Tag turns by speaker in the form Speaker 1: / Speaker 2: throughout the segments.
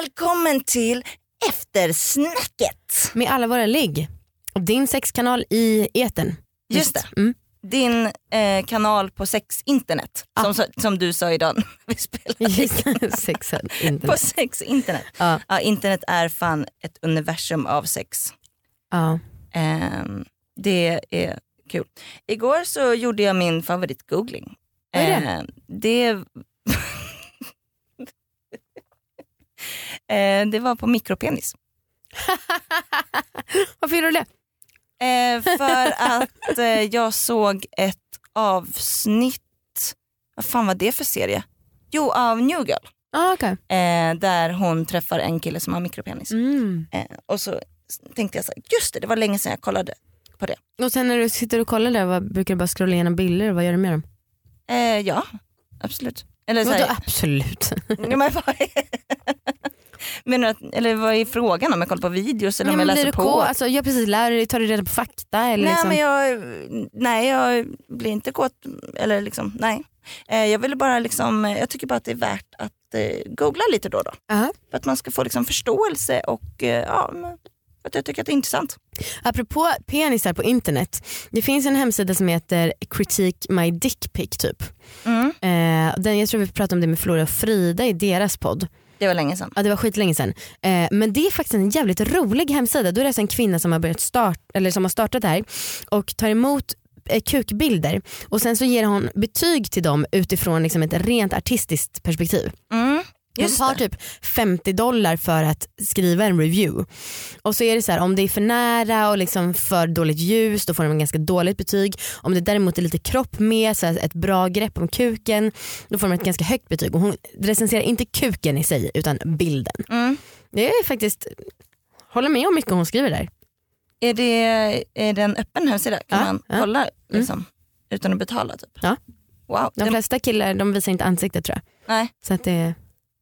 Speaker 1: Välkommen till eftersnacket.
Speaker 2: Med alla våra ligg. Din sexkanal i eten.
Speaker 1: Just det.
Speaker 2: Mm.
Speaker 1: Din eh, kanal på sexinternet
Speaker 2: Ah.
Speaker 1: som, sa- som du sa idag när vi spelade.
Speaker 2: Just Sexen.
Speaker 1: På
Speaker 2: internet.
Speaker 1: sexinternet.
Speaker 2: Ja.
Speaker 1: Ja, internet är fan ett universum av sex.
Speaker 2: Ja.
Speaker 1: Ehm, det är kul. Igår så gjorde jag min favoritgoogling.
Speaker 2: Vad är det?
Speaker 1: Ehm, det... Ehm, det var på mikropenis.
Speaker 2: Varför gjorde du det?
Speaker 1: Ehm, för att eh, jag såg ett avsnitt, vad fan var det för serie? Jo, av New Girl.
Speaker 2: Ah, okay.
Speaker 1: Ehm, där hon träffar en kille som har mikropenis.
Speaker 2: mm.
Speaker 1: Ehm, och så tänkte jag så här, just det, det var länge sedan jag kollade.
Speaker 2: Och sen när du sitter och kollar där, vad, brukar du bara scrolla igenom bilder? Vad gör du med dem?
Speaker 1: Ehm, ja, absolut. Eller så här,
Speaker 2: Vadå absolut?
Speaker 1: Ja, men vad är... Menar du att, eller vad är frågan om jag kollar på videos eller
Speaker 2: Nej,
Speaker 1: om jag
Speaker 2: men blir
Speaker 1: läser
Speaker 2: du
Speaker 1: på?
Speaker 2: K, alltså, jag precis, lär du dig, tar du reda på fakta? Eller
Speaker 1: nej,
Speaker 2: liksom?
Speaker 1: men jag, nej jag blir inte kåt, eller liksom, nej. Eh, jag ville bara liksom, eh, jag tycker bara att det är värt att eh, googla lite då och då.
Speaker 2: Aha.
Speaker 1: För att man ska få liksom förståelse och eh, ja, men, för att jag tycker att det är intressant.
Speaker 2: Apropå penisar på internet. Det finns en hemsida som heter Critique My Dick Pic typ.
Speaker 1: Mm.
Speaker 2: Eh, den, jag tror vi pratade om det med Flora och Frida i deras podd.
Speaker 1: Det var länge sedan.
Speaker 2: Ja, det var skitlänge sedan. Eh, men det är faktiskt en jävligt rolig hemsida. Då är det alltså en kvinna som har, börjat start, eller som har startat det här och tar emot eh, kukbilder och sen så ger hon betyg till dem utifrån liksom ett rent artistiskt perspektiv.
Speaker 1: Mm.
Speaker 2: Hon
Speaker 1: Just
Speaker 2: tar
Speaker 1: det.
Speaker 2: typ 50 dollar för att skriva en review. Och så är det så här, om det är för nära och liksom för dåligt ljus då får de ganska dåligt betyg. Om det däremot är lite kropp med, så här, ett bra grepp om kuken då får de ett ganska högt betyg. Och hon recenserar inte kuken i sig utan bilden.
Speaker 1: Mm.
Speaker 2: Det är faktiskt, håller med om mycket hon skriver där.
Speaker 1: Är, det, är det en öppen hemsida? Kan
Speaker 2: Ja,
Speaker 1: man
Speaker 2: ja.
Speaker 1: kolla liksom, utan att betala? Typ?
Speaker 2: Ja.
Speaker 1: Wow,
Speaker 2: De
Speaker 1: det,
Speaker 2: flesta killar de visar inte ansiktet tror jag.
Speaker 1: nej.
Speaker 2: Så att det,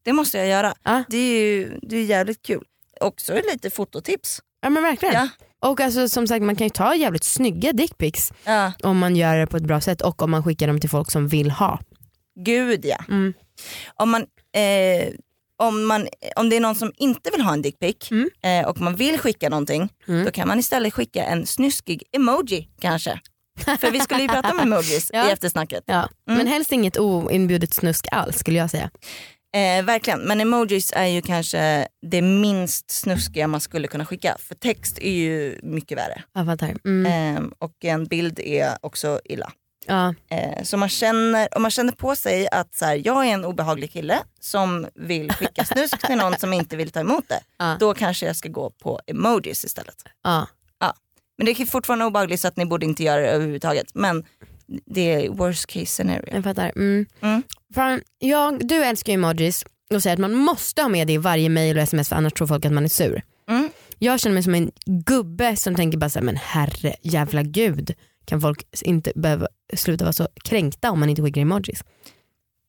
Speaker 1: Det måste jag göra.
Speaker 2: Ja.
Speaker 1: Det är ju det är jävligt kul. Också lite fototips.
Speaker 2: ja men verkligen.
Speaker 1: Ja.
Speaker 2: Och alltså, som sagt man kan ju ta jävligt snygga dickpics
Speaker 1: Ja.
Speaker 2: om man gör det på ett bra sätt och om man skickar dem till folk som vill ha.
Speaker 1: Gud ja.
Speaker 2: Mm.
Speaker 1: Om, man, eh, om, man, om det är någon som inte vill ha en dickpic
Speaker 2: Mm.
Speaker 1: eh, och man vill skicka någonting
Speaker 2: Mm.
Speaker 1: då kan man istället skicka en snuskig emoji kanske. För vi skulle ju prata om emojis
Speaker 2: Ja.
Speaker 1: i eftersnacket.
Speaker 2: Ja, men helst inget oinbjudet snusk alls skulle jag säga.
Speaker 1: Eh, verkligen, men emojis är ju kanske det minst snuskiga man skulle kunna skicka. För text är ju mycket värre.
Speaker 2: Jag fattar. Mm.
Speaker 1: Eh, och en bild är också illa.
Speaker 2: Ja.
Speaker 1: Eh, så man känner, om man känner på sig att så här, jag är en obehaglig kille som vill skicka snusk till någon som inte vill ta emot det.
Speaker 2: Ja.
Speaker 1: Då kanske jag ska gå på emojis istället.
Speaker 2: Ja.
Speaker 1: Men det är fortfarande obehagligt så att ni borde inte göra det överhuvudtaget. Men det är worst case scenario.
Speaker 2: Jag fattar. Mm.
Speaker 1: Mm.
Speaker 2: Fan, jag, du älskar ju emojis och säger att man måste ha med det i varje mail och sms för annars tror folk att man är sur.
Speaker 1: Mm.
Speaker 2: Jag känner mig som en gubbe som tänker bara såhär, men herre jävla gud kan folk inte behöva sluta vara så kränkta om man inte skickar emojis.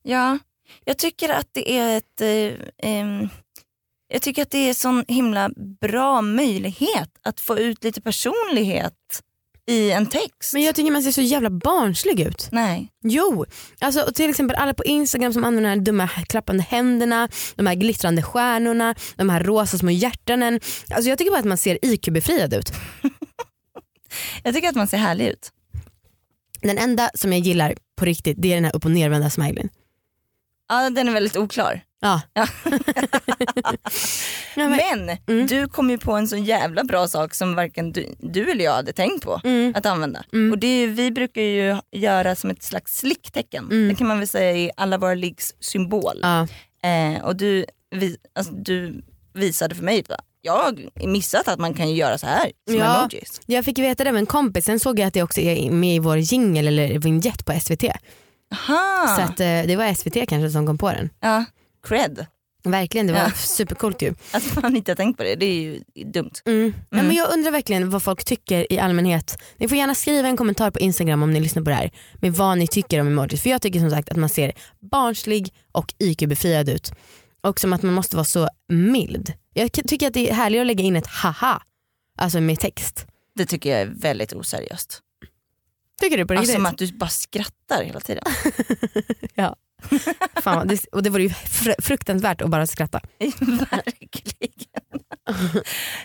Speaker 1: Ja, jag tycker att det är ett... Eh, ehm, jag tycker att det är en sån himla bra möjlighet att få ut lite personlighet i en text.
Speaker 2: Men jag tycker man ser så jävla barnslig ut.
Speaker 1: Nej.
Speaker 2: Jo, alltså och till exempel alla på Instagram som använder de här dumma klappande händerna, de här glittrande stjärnorna, de här rosa små hjärtanen. Alltså jag tycker bara att man ser IQ-befriad ut.
Speaker 1: Jag tycker att man ser härlig ut.
Speaker 2: Den enda som jag gillar på riktigt det är den här upp och nervända smileyn.
Speaker 1: Ja, den är väldigt oklar.
Speaker 2: Ja.
Speaker 1: Ja.
Speaker 2: Ja, men, Mm.
Speaker 1: Men du kom ju på en så jävla bra sak som varken du, du eller jag hade tänkt på
Speaker 2: Mm.
Speaker 1: att använda.
Speaker 2: Mm.
Speaker 1: Och det är ju, Vi brukar ju göra som ett slags slicktecken.
Speaker 2: Mm.
Speaker 1: Det kan man väl säga är alla våra liggs symbol.
Speaker 2: ja.
Speaker 1: Eh, och du, vi, alltså, du visade för mig, va? jag har missat att man kan ju göra så här som
Speaker 2: Ja.
Speaker 1: emojis.
Speaker 2: Jag fick veta det av en kompis, sen såg jag att det också är med i vår jingle eller vignett på SVT.
Speaker 1: Aha.
Speaker 2: Så att, eh, det var SVT kanske som kom på den.
Speaker 1: ja. Cred.
Speaker 2: Verkligen, det var
Speaker 1: Ja.
Speaker 2: supercoolt ju.
Speaker 1: Att man inte har tänkt på det, det är ju dumt.
Speaker 2: Mm. Nej, men jag undrar verkligen vad folk tycker i allmänhet. Ni får gärna skriva en kommentar på Instagram om ni lyssnar på det här med vad ni tycker om emojis. För jag tycker som sagt att man ser barnslig och IQ-befriad ut. Och som att man måste vara så mild. Jag k- tycker att det är härligt att lägga in ett haha, alltså med text.
Speaker 1: Det tycker jag är väldigt oseriöst.
Speaker 2: Tycker du på
Speaker 1: Alltså,
Speaker 2: riktigt?
Speaker 1: som att du bara skrattar hela tiden.
Speaker 2: Fan, det, och det vore ju fr- fruktansvärt att bara skratta.
Speaker 1: Verkligen.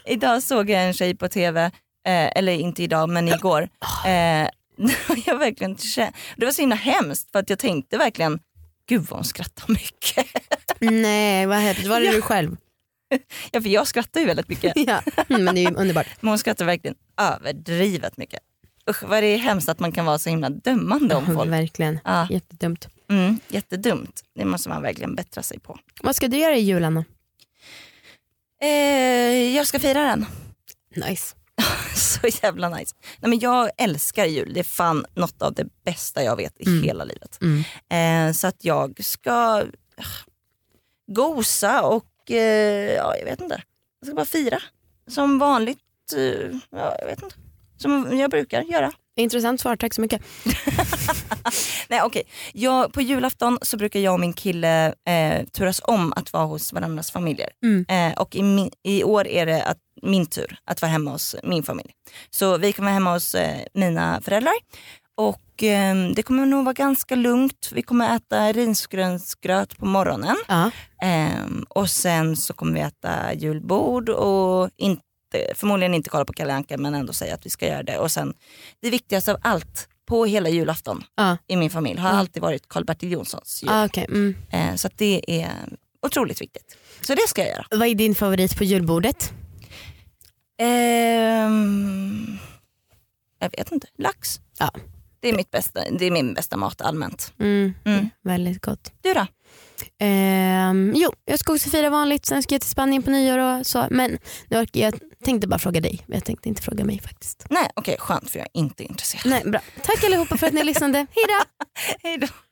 Speaker 1: idag såg jag en tjej på tv, eh, eller inte idag men igår. Eh, jag verkligen, kä- det var så himla hemskt för att jag tänkte verkligen, gud vad hon skrattar mycket.
Speaker 2: Nej vad hemskt, var det
Speaker 1: Ja.
Speaker 2: du själv?
Speaker 1: Ja, för jag skrattar ju väldigt mycket.
Speaker 2: Ja. Mm, men det är ju underbart.
Speaker 1: Men hon skrattar verkligen överdrivet mycket. Usch vad det är hemskt att man kan vara så himla dömande om folk.
Speaker 2: Verkligen,
Speaker 1: Ja,
Speaker 2: jättedumt.
Speaker 1: mm, jättedumt. Det måste man verkligen bättra sig på.
Speaker 2: Vad ska du göra i jul Anna?
Speaker 1: Eh, jag ska fira den.
Speaker 2: Nice.
Speaker 1: Så jävla nice. Nej, men jag älskar jul. Det är fan något av det bästa jag vet i
Speaker 2: Mm.
Speaker 1: hela livet.
Speaker 2: Mm.
Speaker 1: Eh, så att jag ska ah, gosa och eh, ja, jag vet inte. Jag ska bara fira. Som vanligt. Eh, ja, jag vet inte. Som jag brukar göra.
Speaker 2: Intressant svar, tack så mycket.
Speaker 1: Nej okej, jag, på julafton så brukar jag och min kille eh, turas om att vara hos varandras familjer.
Speaker 2: Mm.
Speaker 1: Eh, och i, min, i år är det att, min tur att vara hemma hos min familj. Så vi kommer vara hemma hos eh, mina föräldrar och eh, det kommer nog vara ganska lugnt. Vi kommer äta risgrynsgröt på morgonen
Speaker 2: Ja.
Speaker 1: eh, och sen så kommer vi äta julbord och inte förmodligen inte kolla på Kalle Anka men ändå säga att vi ska göra det. Och sen det viktigaste av allt, på hela julafton
Speaker 2: Ja.
Speaker 1: i min familj har
Speaker 2: Mm.
Speaker 1: alltid varit Karl-Bertil Jonssons jul.
Speaker 2: Ah, okay. mm.
Speaker 1: Eh, så att det är otroligt viktigt. Så det ska jag göra.
Speaker 2: Vad är din favorit på julbordet?
Speaker 1: Ehm, jag vet inte, lax.
Speaker 2: Ja.
Speaker 1: Det, är mitt bästa, det är min bästa mat allmänt.
Speaker 2: Mm.
Speaker 1: Mm.
Speaker 2: Väldigt gott.
Speaker 1: Du då?
Speaker 2: Ehm, jo, jag ska också fira vanligt, sen ska jag till Spanien på nyår och så. Men nu orkar jag tänkte bara fråga dig, men jag tänkte inte fråga mig faktiskt.
Speaker 1: Nej okej skönt för jag är inte intresserad.
Speaker 2: Nej, bra. Tack allihopa för att ni lyssnade, hejdå!
Speaker 1: Hej då.